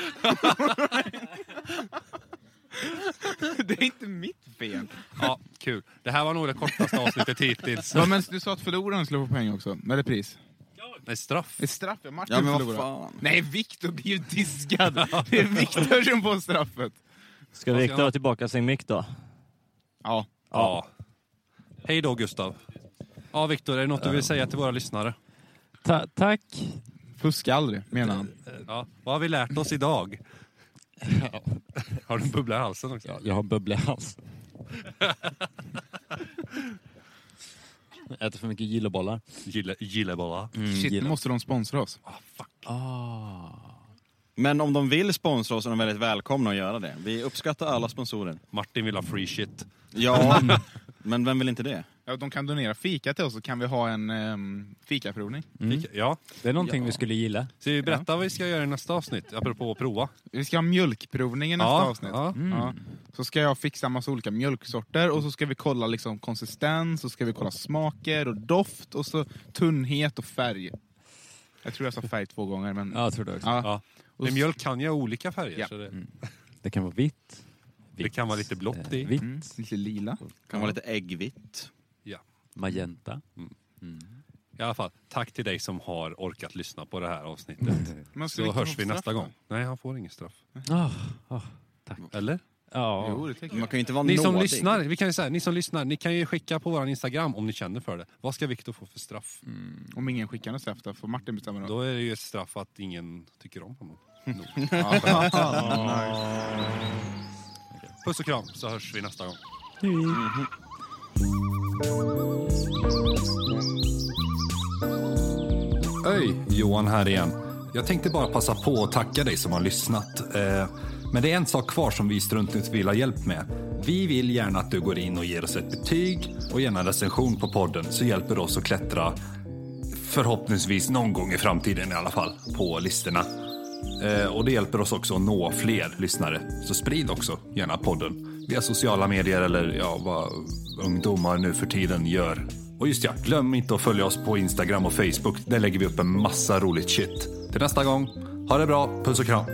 Speaker 1: Det är inte mitt fel.
Speaker 2: Ja, kul. Det här var nog det kortaste avsnittet hittills.
Speaker 1: Ja, men du sa att förloraren skulle få poäng också. Eller pris.
Speaker 2: Nej, straff.
Speaker 1: Ett straff, ja. Martin
Speaker 4: Ja, men vad
Speaker 1: förlorar.
Speaker 4: fan.
Speaker 1: Nej, Viktor blir ju [LAUGHS] diskad. Det är Viktor som får straffet.
Speaker 6: Ska Viktor ha tillbaka sin mick då?
Speaker 1: Ja.
Speaker 2: Ja. Hej då, Gustav. Ja, Viktor, är det något du vill säga till våra lyssnare?
Speaker 6: Ta- tack.
Speaker 1: Fuska aldrig, menar han.
Speaker 2: Ja. Vad har vi lärt oss
Speaker 5: [LAUGHS]
Speaker 2: idag? Har du en bubbla i halsen också?
Speaker 5: Jag har en bubbla i halsen. Jag Äter för mycket gillebollar. Mm.
Speaker 2: Gille, gillebolla.
Speaker 1: Shit, nu Mm. måste de sponsra oss.
Speaker 2: Ah, fuck.
Speaker 4: Men om de vill sponsra oss är de väldigt välkomna att göra det. Vi uppskattar alla sponsorer.
Speaker 2: Martin vill ha free shit.
Speaker 4: Ja, men vem vill inte det?
Speaker 1: Ja, de kan donera fika till oss så kan vi ha en um, fikaprovning.
Speaker 5: Mm.
Speaker 2: Fick- Ja.
Speaker 5: Det är någonting vi skulle gilla.
Speaker 2: Ska vi berätta vad vi ska göra i nästa avsnitt? Apropå att prova.
Speaker 1: Vi ska ha mjölkprovning i nästa
Speaker 2: Ja,
Speaker 1: avsnitt.
Speaker 2: ja.
Speaker 1: Ja. Mm. Så ska jag fixa massa olika mjölksorter och så ska vi kolla liksom konsistens, och ska vi kolla smaker och doft och så tunnhet och färg. Jag tror jag sa färg två gånger men...
Speaker 5: Ja, jag tror det också.
Speaker 1: Ja.
Speaker 2: Ja. Men mjölk kan ju ha olika färger.
Speaker 1: Ja.
Speaker 2: Så det,
Speaker 5: Mm. Det kan vara vitt.
Speaker 2: det kan vara lite blått
Speaker 5: eh,
Speaker 2: i.
Speaker 5: Vitt.
Speaker 1: Mm, lite lila.
Speaker 4: Kan vara lite äggvitt.
Speaker 5: Magenta.
Speaker 2: I alla fall, tack till dig som har orkat lyssna på det här avsnittet.
Speaker 1: Men ska
Speaker 2: Så
Speaker 1: inte
Speaker 2: hörs
Speaker 1: få
Speaker 2: vi
Speaker 1: straff
Speaker 2: nästa
Speaker 1: då?
Speaker 2: gång. Nej, han får ingen straff.
Speaker 5: Ah, ah,
Speaker 2: Eller?
Speaker 5: ja.
Speaker 1: Jo, det tycker
Speaker 4: Man
Speaker 1: jag.
Speaker 4: kan ju inte vara
Speaker 2: Ni som
Speaker 4: nådig.
Speaker 2: lyssnar, vi kan ju säga, ni som lyssnar, ni kan ju skicka på våran Instagram om ni känner för det. Vad ska Viktor få för straff?
Speaker 1: Om ingen skickar något straff då får Martin bestämma då.
Speaker 2: Då är det ju ett straff att ingen tycker om honom. Nog. Puss och kram, så hörs vi nästa gång. Hej, Johan här igen. Jag tänkte bara passa på att tacka dig som har lyssnat. Eh, Men det är en sak kvar som vi struntnytt vill ha hjälp med. Vi vill gärna att du går in och ger oss ett betyg och gärna en recension på podden så hjälper det oss att klättra förhoppningsvis någon gång i framtiden i alla fall på listorna. Eh, och det hjälper oss också att nå fler lyssnare. Så sprid också gärna podden via sociala medier eller ja, vad ungdomar nu för tiden gör. Och just ja, glöm inte att följa oss på Instagram och Facebook. Där lägger vi upp en massa roligt shit. Till nästa gång, ha det bra, puss och kram.